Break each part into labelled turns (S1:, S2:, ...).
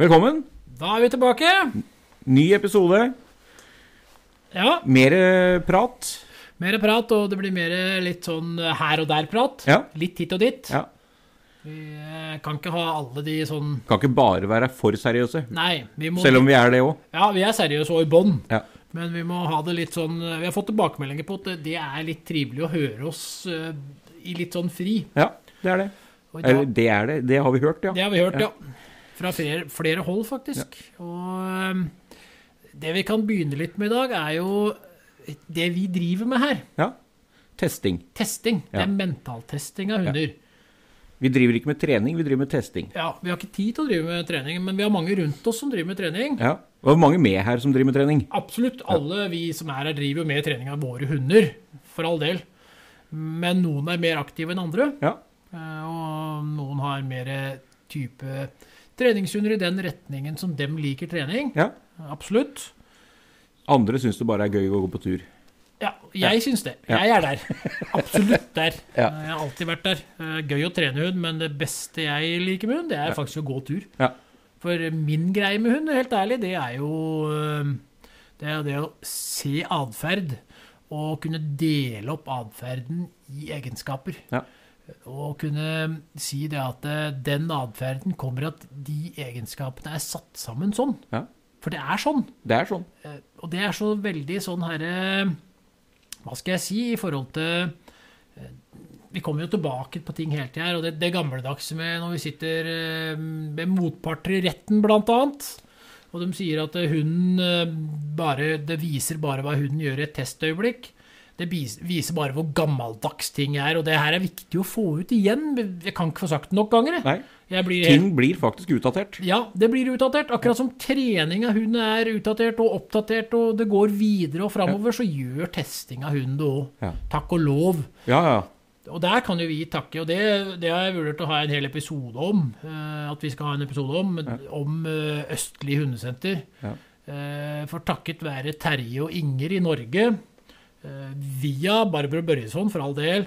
S1: Velkommen.
S2: Da er vi tilbake.
S1: Ny episode.
S2: Ja,
S1: Mer eh, prat.
S2: mer prat, og det blir mer litt sånn her og der-prat.
S1: Ja.
S2: Litt hit og dit.
S1: Ja.
S2: Vi eh, kan ikke ha alle de sånn
S1: Kan ikke bare være for seriøse.
S2: Nei, vi må
S1: Selv om vi er det òg.
S2: Ja, vi er seriøse og i bånn,
S1: Ja.
S2: men vi må ha det litt sånn Vi har fått tilbakemeldinger på at det- det er litt trivelig å høre oss eh, i litt sånn fri.
S1: ja, det er det.
S2: Og i dag-
S1: Eller, det er det. Det har vi hørt, ja.
S2: Det har vi hørt, ja. Fra flere, flere hold, faktisk. Og ehm, det vi kan begynne litt med i dag, er jo det vi driver med her.
S1: ja. Testing.
S2: Testing. Det
S1: Ja.
S2: er mentaltesting av hunder.
S1: Vi driver ikke med trening, vi driver med testing.
S2: Ja, Vi har ikke tid til å drive med trening, men vi har mange rundt oss som driver med trening.
S1: Ja. Det var mange med her som driver med trening.
S2: Absolutt alle vi som er her, driver jo med trening av våre hunder, for all del. Men noen er mer aktive enn andre,
S1: Ja.
S2: eh, og noen har mer eh, type treningshunder i den retningen som dem liker trening.
S1: ja.
S2: Absolutt.
S1: Andre syns det bare er gøy å gå på tur.
S2: Ja, jeg syns det.
S1: Ja.
S2: Jeg er der. Absolutt der.
S1: Ja.
S2: Jeg har alltid vært der. Eh, Gøy å trene hund, men det beste jeg liker med hund, det er faktisk å gå tur.
S1: Ja.
S2: For min greie med hund, helt ærlig, det er jo eh, det, er det å se atferd. Og kunne dele opp atferden i egenskaper.
S1: Ja.
S2: Og kunne si det at eh, den atferden kommer at de egenskapene er satt sammen sånn.
S1: Ja.
S2: For det er sånn.
S1: Det er sånn.
S2: Eh, Og det er så veldig sånn herre Hva skal jeg si i forhold til eh, Vi kommer jo tilbake på ting hele tida her, og det, det gammeldagse med når vi sitter eh, med motparter i retten, blant annet. Og de sier at eh, hunden eh, bare Det viser bare hva hunden gjør i et testøyeblikk. Det bis- viser bare hvor gammeldags ting er, og det her er viktig å få ut igjen. Jeg kan ikke få sagt det nok ganger. jeg.
S1: Nei.
S2: Jeg blir helt
S1: Ting blir faktisk utdatert.
S2: ja, det blir utdatert. Akkurat som trening av hund er utdatert og oppdatert, og det går videre og framover, så gjør testing av hund det òg.
S1: Ja.
S2: Takk og lov.
S1: Ja, ja.
S2: Og der kan jo vi takke, og det, det har jeg vurdert å ha en hel episode om. eh, at vi skal ha en episode om, om eh, Østlig hundesenter.
S1: Ja.
S2: Eh, for takket være Terje og Inger i Norge, eh, via Barbro Børjesson for all del,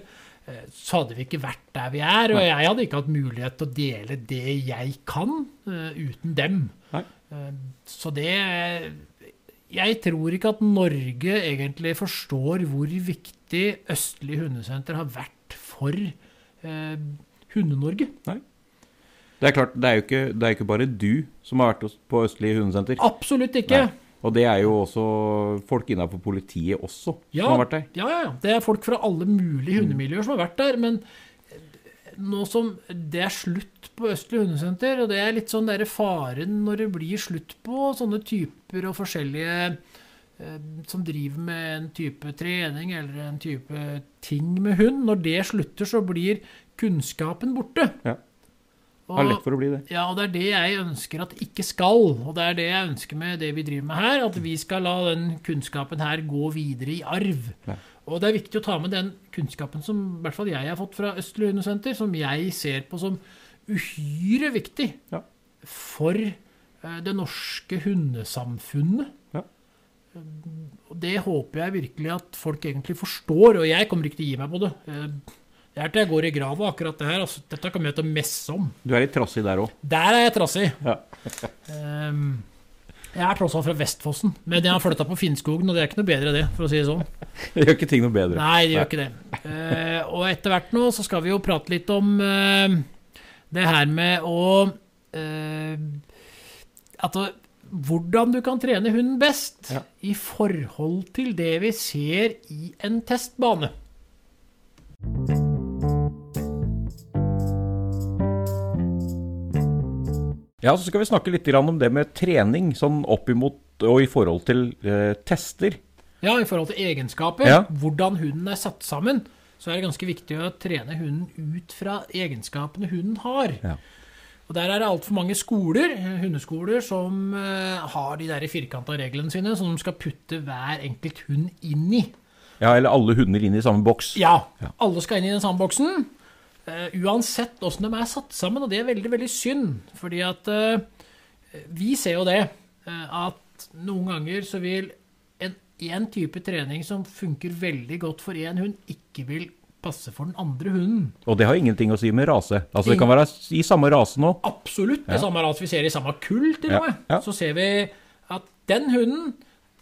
S2: eh, så hadde vi ikke vært der vi er. Og jeg hadde ikke hatt mulighet til å dele det jeg kan, eh, uten dem.
S1: Nei.
S2: Eh, så det Jeg tror ikke at Norge egentlig forstår hvor viktig Østlig hundesenter har vært for eh, Hunde-Norge.
S1: Det er klart, det er jo ikke, det er jo ikke bare du som har vært hos- på Østlig hundesenter.
S2: Absolutt ikke!
S1: Nei. Og det er jo også folk innafor politiet også som har vært der. Mm.
S2: Ja, ja, ja. Det er folk fra alle mulige hundemiljøer som har vært der. Men eh, nå som det er slutt på Østlig hundesenter, og det er litt sånn der faren når det blir slutt på sånne typer og forskjellige eh, som driver med en type trening eller en type ting med hund. Når det slutter, så blir kunnskapen borte.
S1: Ja.
S2: Og-
S1: Har lett for å bli det.
S2: ja, og det er det jeg ønsker at ikke skal. Og det er det jeg ønsker med det vi driver med her, at vi skal la den kunnskapen her gå videre i arv.
S1: Ja.
S2: Og det er viktig å ta med den kunnskapen som i hvert fall jeg har fått fra Østlig Hundesenter, som jeg ser på som uhyre viktig
S1: Ja.
S2: for eh, det norske hundesamfunnet. Eh,
S1: Ja.
S2: Og det håper jeg virkelig at folk egentlig forstår, og jeg kommer ikke til å gi meg på det. Eh, Det er til jeg går i grava, akkurat det her. Altså, dette kommer jeg til å messe om.
S1: Du er litt trassig der òg.
S2: Der er jeg trassig.
S1: Ja.
S2: Ehm, jeg er tross alt fra Vestfossen, men jeg har flytta på Finnskogen, og det er ikke noe bedre det, for å si det sånn.
S1: Det gjør ikke ting noe bedre.
S2: Nei, det gjør ikke det. Eh, og etter hvert nå så skal vi jo prate litt om eh, det her med å eh, At å- hvordan du kan trene hunden best
S1: Ja.
S2: i forhold til det vi ser i en testbane.
S1: Ja, så skal vi snakke litt grann om det med trening, sånn opp imot og i forhold til eh, tester.
S2: Ja, i forhold til egenskaper.
S1: Ja.
S2: Hvordan hunden er satt sammen. Så er det ganske viktig å trene hunden ut fra egenskapene hunden har.
S1: Ja.
S2: Og der er det altfor mange skoler, eh, hundeskoler, som eh, har de der firkanta reglene sine, som de skal putte hver enkelt hund inn i.
S1: Ja, eller alle hunder inn i samme boks.
S2: Ja,
S1: Ja.
S2: alle skal inn i den samme boksen. eh, uansett åssen de er satt sammen, og det er veldig, veldig synd. Fordi at eh, vi ser jo det, eh, at noen ganger så vil en, en type trening som funker veldig godt for én hund, ikke vil passe for den andre hunden.
S1: Og det har ingenting å si med rase. Altså Det kan være i samme rase nå.
S2: Absolutt. Det samme er at vi ser i samme kull, til
S1: Ja,
S2: og med.
S1: ja.
S2: Så ser vi at den hunden,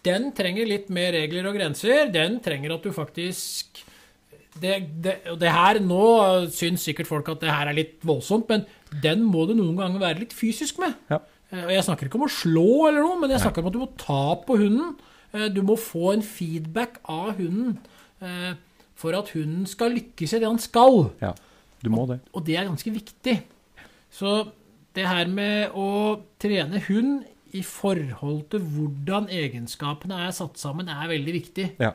S2: den trenger litt mer regler og grenser. Den trenger at du faktisk det, det, og det her, Nå syns sikkert folk at det her er litt voldsomt, men den må du noen ganger være litt fysisk med.
S1: Ja.
S2: Eh, Og jeg snakker ikke om å slå eller noe, men jeg snakker om at du må ta på hunden. Eh, Du må få en feedback av hunden eh, for at hunden skal lykkes i det han skal.
S1: ja. Du må det.
S2: Og det er ganske viktig. Så det her med å trene hund i forhold til hvordan egenskapene er satt sammen, er veldig viktig.
S1: Ja.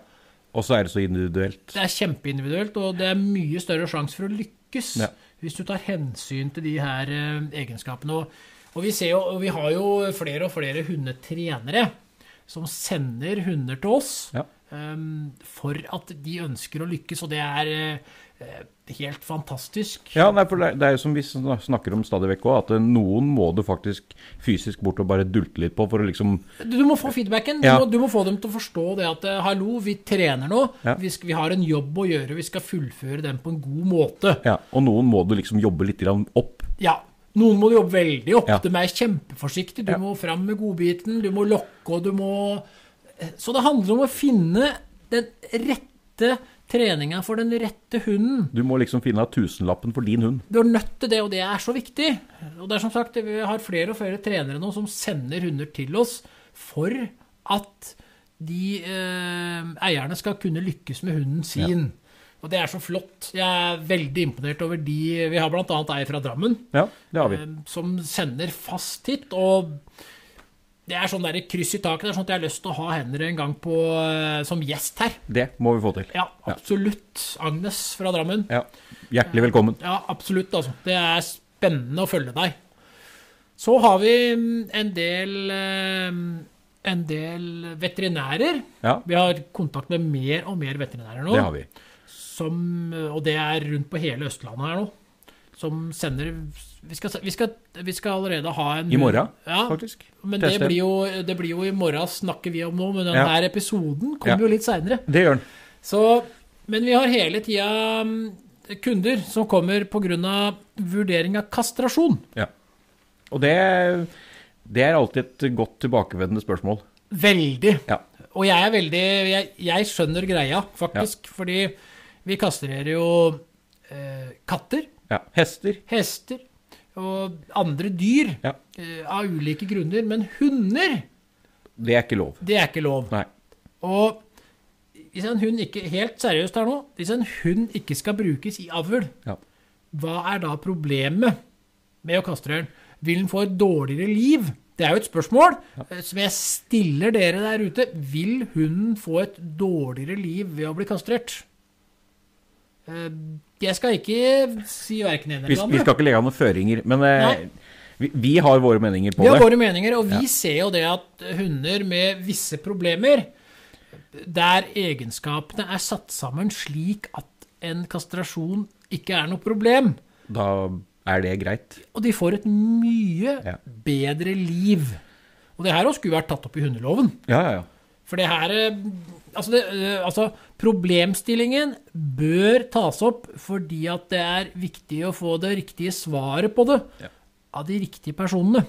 S1: Og så er det så individuelt.
S2: Det er kjempeindividuelt, og det er mye større sjanse for å lykkes
S1: Ja.
S2: hvis du tar hensyn til de her eh, egenskapene. Og, og, vi ser jo, og vi har jo flere og flere hundetrenere som sender hunder til oss
S1: Ja.
S2: eh, for at de ønsker å lykkes, og det er eh, eh, helt fantastisk.
S1: Ja, nei, for det, er- det er jo som vi sn- snakker om stadig vekk òg, at eh, noen må du faktisk fysisk bort og bare dulte litt på for å liksom
S2: Du, du må få feedbacken. Du,
S1: Ja.
S2: må, du må få dem til å forstå det at eh, hallo, vi trener nå.
S1: Ja.
S2: Vi, skal, vi har en jobb å gjøre. Vi skal fullføre den på en god måte.
S1: Ja. Og noen må du liksom jobbe litt grann opp.
S2: Ja. Noen må du jobbe veldig opp.
S1: Ja.
S2: De er kjempeforsiktige. Du
S1: Ja.
S2: må fram med godbiten. Du må lokke, og du må eh, Så det handler om å finne den rette treninga for den rette hunden.
S1: Du må liksom finne av tusenlappen for din hund.
S2: Du er nødt til det, og det er så viktig. Og det er som sagt, Vi har flere og flere trenere nå som sender hunder til oss for at de eh, eierne skal kunne lykkes med hunden sin. Og det er så flott. Jeg er veldig imponert over de Vi har bl.a. ei fra Drammen
S1: Ja, det har vi.
S2: eh, som sender fast hit. Og det er sånn der kryss i taket. Det er sånn at jeg har lyst til å ha henne en gang på, eh, som gjest her.
S1: Det må vi få til.
S2: Ja, absolutt. Agnes fra Drammen.
S1: Ja. Hjertelig velkommen.
S2: Ja, absolutt. Altså. Det er spennende å følge deg. Så har vi mm, en del eh, en del veterinærer.
S1: Ja,
S2: Vi har kontakt med mer og mer veterinærer nå.
S1: det har vi.
S2: Som, eh, og det er rundt på hele Østlandet her nå. Som sender Vi skal, vi skal, vi skal allerede ha en
S1: I morgen,
S2: ja,
S1: faktisk.
S2: Men det
S1: Teste.
S2: blir, jo, det blir jo i morgen snakker vi om nå, men
S1: Ja.
S2: denne episoden
S1: Ja.
S2: kommer jo litt seinere.
S1: Det gjør den.
S2: Så, men vi har hele tida mm, kunder som kommer pga. vurdering av kastrasjon.
S1: Ja. Og det, det er alltid et godt tilbakevendende spørsmål.
S2: Veldig.
S1: Ja.
S2: Og jeg er veldig Jeg, jeg skjønner greia, faktisk. Fordi vi kastrerer jo eh, katter,
S1: ja. Hester.
S2: hester og andre dyr
S1: Ja.
S2: eh, av ulike grunner. Men hunder,
S1: Det er ikke lov.
S2: det er ikke lov.
S1: Nei.
S2: Og hvis en hund ikke Helt seriøst her nå. Hvis en hund ikke skal brukes i avl,
S1: Ja.
S2: Hva er da problemet med å kastrere den? Vil den få et dårligere liv? Det er jo et spørsmål eh, som jeg stiller dere der ute. Vil hunden få et dårligere liv ved å bli kastrert? Eh, Jeg skal ikke si verken en
S1: Vi,
S2: eller
S1: vi
S2: annen.
S1: skal ikke legge av noen føringer, men eh,
S2: Nei.
S1: vi, vi har våre meninger på
S2: Vi har
S1: det.
S2: våre meninger, og vi ser jo det at hunder med visse problemer, der egenskapene er satt sammen slik at en kastrasjon ikke er noe problem,
S1: Da er det greit.
S2: Og de får et mye
S1: Ja.
S2: bedre liv. Og det her også skulle vært tatt opp i hundeloven.
S1: Ja, ja, ja.
S2: For det her eh, altså, det, eh, altså, problemstillingen bør tas opp fordi at det er viktig å få det riktige svaret på det
S1: Ja.
S2: av de riktige personene.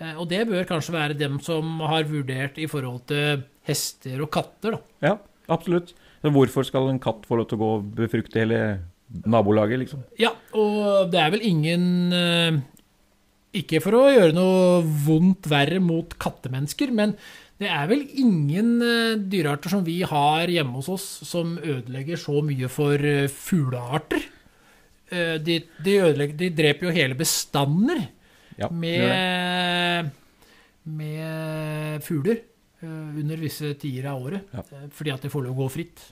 S2: Eh, Og det bør kanskje være dem som har vurdert i forhold til hester og katter, da.
S1: Ja, absolutt. Så hvorfor skal en katt få lov til å gå og befrukte hele nabolaget, liksom?
S2: Ja, og det er vel ingen eh, Ikke for å gjøre noe vondt verre mot kattemennesker, men det er vel ingen eh, dyrearter som vi har hjemme hos oss som ødelegger så mye for eh, fuglearter. Eh, De, de, ødelegger, de dreper jo hele bestander
S1: Ja, gjør det.
S2: med, med fugler eh, under visse tider av året.
S1: Ja.
S2: eh, Fordi at det får lov å gå fritt.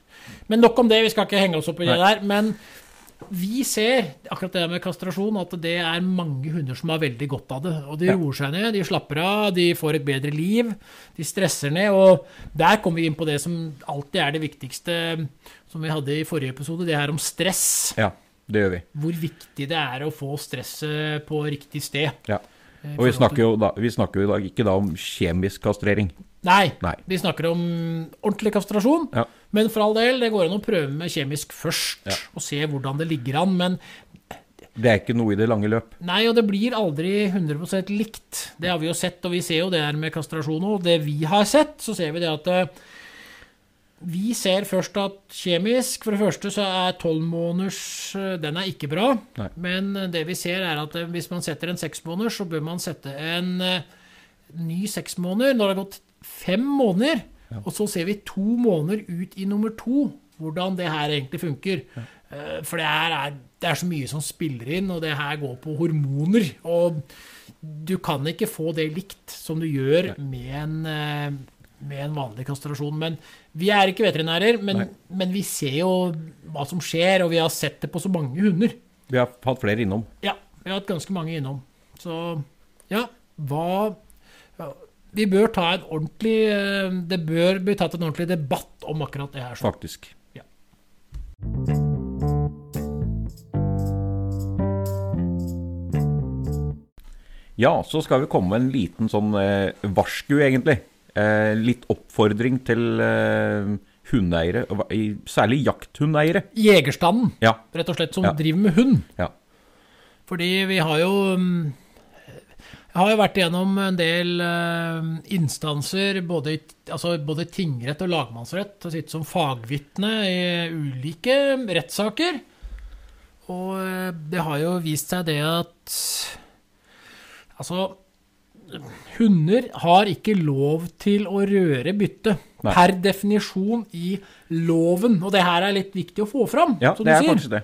S2: Men nok om det, vi skal ikke henge oss opp i det
S1: Nei.
S2: der. Men vi ser akkurat det der med kastrasjon, at det er mange hunder som har veldig godt av det. Og de
S1: Ja.
S2: roer seg ned, de slapper av, de får et bedre liv, de stresser ned. Og der kommer vi inn på det som alltid er det viktigste, som vi hadde i forrige episode, det her om stress.
S1: Ja, det gjør vi.
S2: Hvor viktig det er å få stresset på riktig sted. eh,
S1: Ja. Og vi snakker, jo da, vi snakker jo i dag ikke da om kjemisk kastrering.
S2: Nei,
S1: Nei.
S2: vi snakker om ordentlig kastrasjon.
S1: Ja.
S2: Men for all del, det går an å prøve med kjemisk først, og se hvordan det ligger an. Men
S1: Det er ikke noe i det lange løp.
S2: nei, og det blir aldri 100 likt. Det har vi jo sett, og vi ser jo det her med kastrasjon òg. Det vi har sett, så ser vi det at eh, vi ser først at kjemisk For det første så er tolvmåneders Den er ikke bra.
S1: Nei.
S2: Men det vi ser, er at eh, hvis man setter en seksmåneder, så bør man sette en eh, ny seksmåneder når det har gått fem måneder. Og så ser vi to måneder ut i nummer to hvordan det her egentlig funker. Eh, For det her er, det er så mye som spiller inn, og det her går på hormoner. Og du kan ikke få det likt som du gjør med en, eh, med en vanlig kastrasjon. Men vi er ikke veterinærer, men,
S1: Nei.
S2: men vi ser jo hva som skjer, og vi har sett det på så mange hunder.
S1: Vi har hatt flere innom.
S2: Ja, vi har hatt ganske mange innom. Så ja, hva ja, Vi bør ta en ordentlig eh, Det bør bli tatt en ordentlig debatt om akkurat det her. sånn.
S1: Faktisk.
S2: Ja.
S1: Ja, så skal vi komme med en liten sånn eh, varsku, egentlig. Eh, litt oppfordring til eh, hundeeiere, og hva- i- særlig jakthundeeiere.
S2: Jegerstanden,
S1: Ja,
S2: rett og slett, som
S1: Ja.
S2: driver med hund.
S1: ja.
S2: Fordi vi har jo mm, Jeg har jo vært gjennom en del eh, instanser, både, i t- altså både tingrett og lagmannsrett, og sittet som fagvitne i ulike rettssaker. Og eh, det har jo vist seg det at Altså Hunder har ikke lov til å røre bytte.
S1: Nei.
S2: Per definisjon i loven. Og det her er litt viktig å få fram.
S1: ja
S2: som
S1: det
S2: du
S1: er
S2: sier.
S1: faktisk det.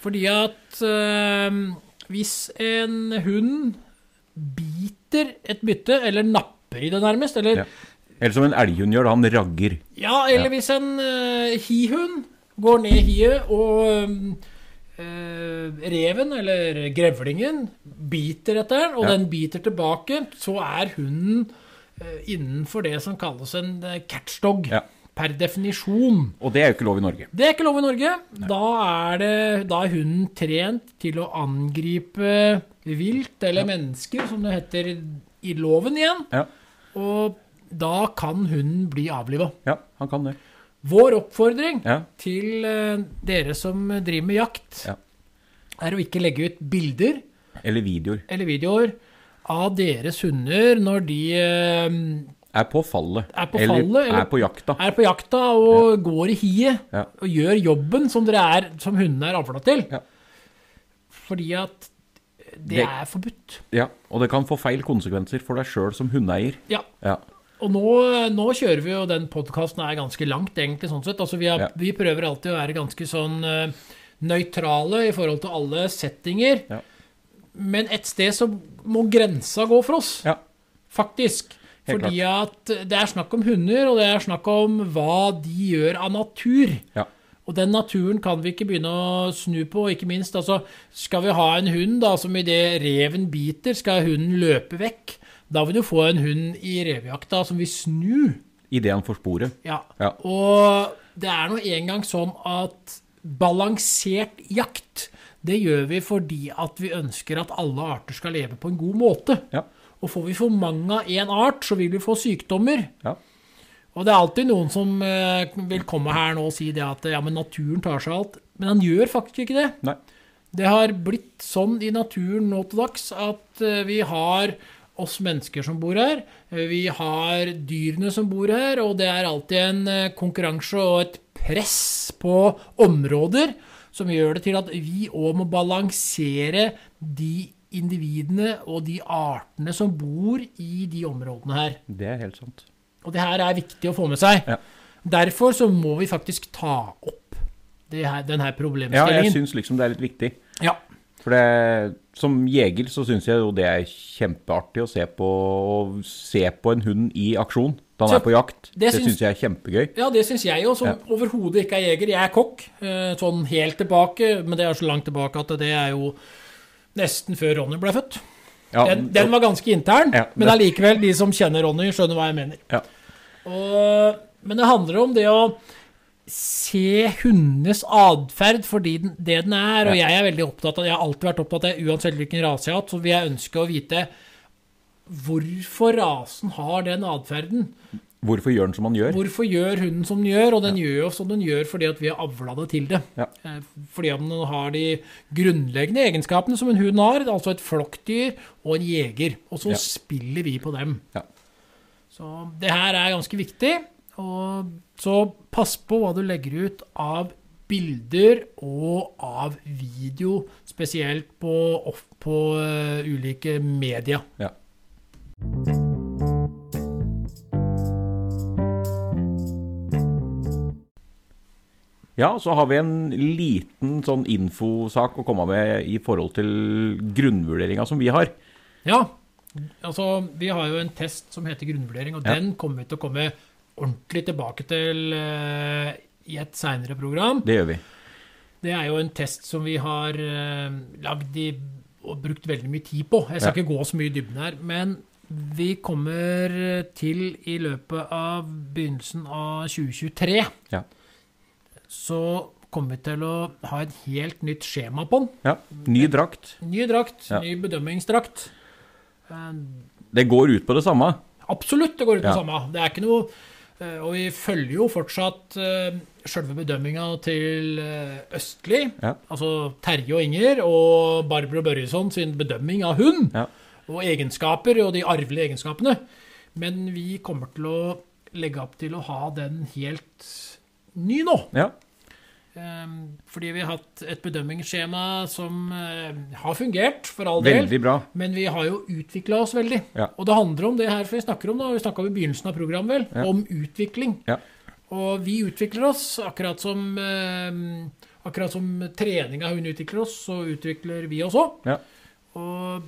S2: Fordi at øhm, hvis en hund biter et bytte, eller napper i det nærmest,
S1: Ja.
S2: eller
S1: Eller som en elghund gjør, da. Han ragger.
S2: ja, eller
S1: Ja.
S2: hvis en uh, hihund går ned i hiet, og øhm, øh, reven eller grevlingen biter etter den, og
S1: Ja.
S2: den biter tilbake, så er hunden øh, innenfor det som kalles en øh, catchdog.
S1: Ja.
S2: Per definisjon.
S1: Og det er jo ikke lov i Norge.
S2: Det er ikke lov i Norge. Da er, det, da er hunden trent til å angripe vilt eller mennesker, som det heter i loven igjen.
S1: Ja,
S2: Og da kan hunden bli avliva.
S1: ja han kan det.
S2: Vår oppfordring
S1: Ja.
S2: til eh, dere som driver med jakt,
S1: Ja.
S2: er å ikke legge ut bilder
S1: Eller videoer.
S2: eller videoer av deres hunder når de eh,
S1: Er på fallet.
S2: Er på
S1: eller,
S2: fallet, eller-
S1: er på jakta.
S2: er på jakta og går i hiet
S1: Ja.
S2: og gjør jobben som, dere er, som hundene er avla til.
S1: Ja.
S2: Fordi at det,
S1: Det-
S2: er forbudt.
S1: Ja, Og det kan få feil konsekvenser for deg sjøl som hundeeier.
S2: Ja.
S1: Ja.
S2: Og nå, nå kjører vi jo den podkasten er ganske langt, egentlig, sånn sett. Altså, vi, har,
S1: Ja.
S2: vi prøver alltid å være ganske sånn eh, nøytrale i forhold til alle settinger.
S1: Ja.
S2: Men et sted så må grensa gå for oss.
S1: ja.
S2: Faktisk.
S1: Helt
S2: Fordi at det er snakk om hunder, og det er snakk om hva de gjør av natur.
S1: Ja.
S2: Og den naturen kan vi ikke begynne å snu på, og ikke minst. Altså, skal vi ha en hund da, som idet reven biter, skal hunden løpe vekk? Da vil du få en hund i revejakta som vil snu.
S1: Idet han får sporet.
S2: Ja.
S1: Ja.
S2: Og det er nå engang sånn at balansert jakt, det gjør vi fordi at vi ønsker at alle arter skal leve på en god måte.
S1: Ja.
S2: Og får vi for mange av én art, så vil vi få sykdommer.
S1: Ja.
S2: Og det er alltid noen som eh, vil komme her nå og si det at ja, men naturen tar seg av alt. Men han gjør faktisk ikke det.
S1: Nei.
S2: Det har blitt sånn i naturen nå til dags at eh, vi har oss mennesker som bor her, eh, vi har dyrene som bor her, og det er alltid en eh, konkurranse og et press på områder som gjør det til at vi òg må balansere de individene og de artene som bor i de områdene her.
S1: Det er helt sant.
S2: Og det her er viktig å få med seg.
S1: Ja.
S2: Derfor så må vi faktisk ta opp det her, denne
S1: Ja, jeg
S2: problemstillingen.
S1: syns liksom det er litt viktig.
S2: Ja,
S1: For det, som jeger så syns jeg jo det er kjempeartig å se på, å se på en hund i aksjon. Da han
S2: Så-
S1: er på jakt.
S2: det
S1: Det
S2: syns-
S1: syns jeg er kjempegøy.
S2: ja, det syns jeg jo, som overhodet ikke er jeger. Jeg er kokk, eh, sånn helt tilbake, men det er så langt tilbake at det er jo nesten før Ronny ble født.
S1: Ja,
S2: Den, den var ganske intern,
S1: Ja,
S2: men
S1: det-
S2: allikevel, de som kjenner Ronny, skjønner hva jeg mener.
S1: ja,
S2: Og, men det handler om det å se hundenes atferd for det den er. Og
S1: Ja.
S2: jeg er veldig opptatt av Jeg har alltid vært opptatt av det, uansett hvilken rase jeg har hatt, så vil jeg ønske å vite hvorfor rasen har den atferden.
S1: Hvorfor gjør den som han gjør?
S2: Hvorfor gjør hunden som den gjør? Og den gjør jo som den gjør fordi at vi har avla det til det.
S1: Ja.
S2: Eh, Fordi at den har de grunnleggende egenskapene som en hund har, altså et flokkdyr og en jeger. Og så
S1: Ja.
S2: spiller vi på dem.
S1: Ja.
S2: Så det her er ganske viktig. Og så pass på hva du legger ut av bilder og av video, spesielt på, off- på eh, ulike media.
S1: Ja. Ja, så har vi en liten sånn infosak å komme med i forhold til grunnvurderinga som vi har.
S2: Ja, altså vi har jo en test som heter grunnvurdering, og
S1: Ja.
S2: den kommer vi til å komme ordentlig tilbake til eh, i et seinere program.
S1: Det gjør vi.
S2: Det er jo en test som vi har eh, lagd i, og brukt veldig mye tid på. Jeg skal
S1: Ja.
S2: ikke gå så mye i dybden her, men vi kommer til i løpet av begynnelsen av 2023
S1: Ja.
S2: så kommer vi til å ha et helt nytt skjema på den.
S1: ja. Ny drakt.
S2: Ny drakt,
S1: Ja.
S2: ny bedømmingsdrakt. Eh,
S1: Det går ut på det samme.
S2: Absolutt, det går ut på
S1: Ja.
S2: samme. Det er ikke noe eh, Og vi følger jo fortsatt eh, sjølve bedømminga til eh, Østli,
S1: Ja.
S2: altså Terje og Inger, og Barbro Børjesson sin bedømming av hund,
S1: Ja.
S2: og egenskaper, og de arvelige egenskapene. Men vi kommer til å legge opp til å ha den helt ny nå.
S1: Ja.
S2: Eh, Fordi vi har hatt et bedømmingsskjema som eh, har fungert, for all del.
S1: Veldig bra.
S2: Men vi har jo utvikla oss veldig.
S1: Ja.
S2: Og det handler om det her for vi snakker om, da. Vi snakka i begynnelsen av programmet, vel,
S1: Ja.
S2: om utvikling.
S1: Ja.
S2: Og vi utvikler oss, akkurat som, eh, akkurat som trening av hund utvikler oss, så utvikler vi oss òg.
S1: Ja.
S2: Og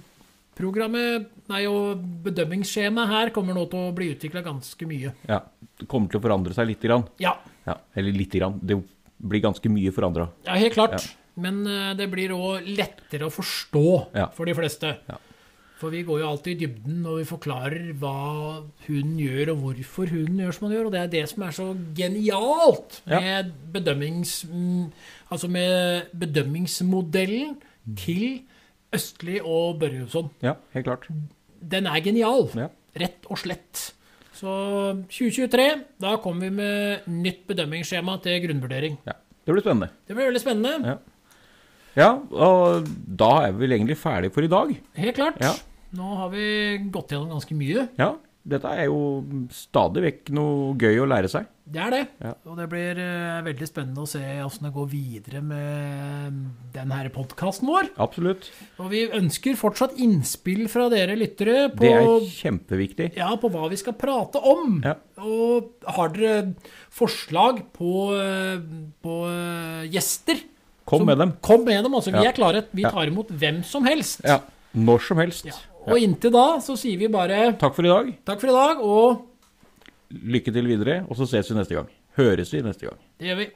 S2: programmet, nei, og bedømmingsskjemaet her kommer nå til å bli utvikla ganske mye.
S1: ja. Det kommer til å forandre seg lite grann.
S2: Ja,
S1: Ja. Eller lite grann. Det blir ganske mye forandra.
S2: ja helt klart. Men eh, det blir òg lettere å forstå
S1: Ja.
S2: for de fleste.
S1: Ja.
S2: For vi går jo alltid i dybden når vi forklarer hva hunden gjør, og hvorfor hunden gjør som han gjør. Og det er det som er så genialt
S1: Ja.
S2: med, bedømmings, mm, altså med bedømmingsmodellen
S1: Mm.
S2: til Østli og Børjesson.
S1: Ja, helt klart.
S2: Den er genial,
S1: Ja.
S2: rett og slett. Så 2023, da kommer vi med nytt bedømmingsskjema til grunnvurdering.
S1: Ja. Det blir spennende.
S2: Det blir veldig spennende.
S1: Ja. Ja, og da er vi vel egentlig ferdig for i dag.
S2: Helt klart.
S1: Ja.
S2: Nå har vi gått gjennom ganske mye.
S1: Ja, dette er jo stadig vekk noe gøy å lære seg.
S2: Det er det.
S1: Ja.
S2: Og det blir eh, veldig spennende å se åssen det går videre med denne podkasten vår.
S1: Absolutt.
S2: Og vi ønsker fortsatt innspill fra dere lyttere på,
S1: Det er kjempeviktig.
S2: ja, på hva vi skal prate om.
S1: Ja.
S2: Og har dere forslag på, eh, på eh, gjester?
S1: Kom
S2: så
S1: med dem.
S2: Kom med dem, altså.
S1: Ja.
S2: Vi er klare. Vi
S1: Ja.
S2: tar imot hvem som helst.
S1: Ja, når som helst.
S2: Ja. Og inntil da så sier vi bare
S1: Takk for i dag.
S2: takk for i dag, og
S1: Lykke til videre, og så ses vi neste gang. Høres vi neste gang.
S2: det gjør vi.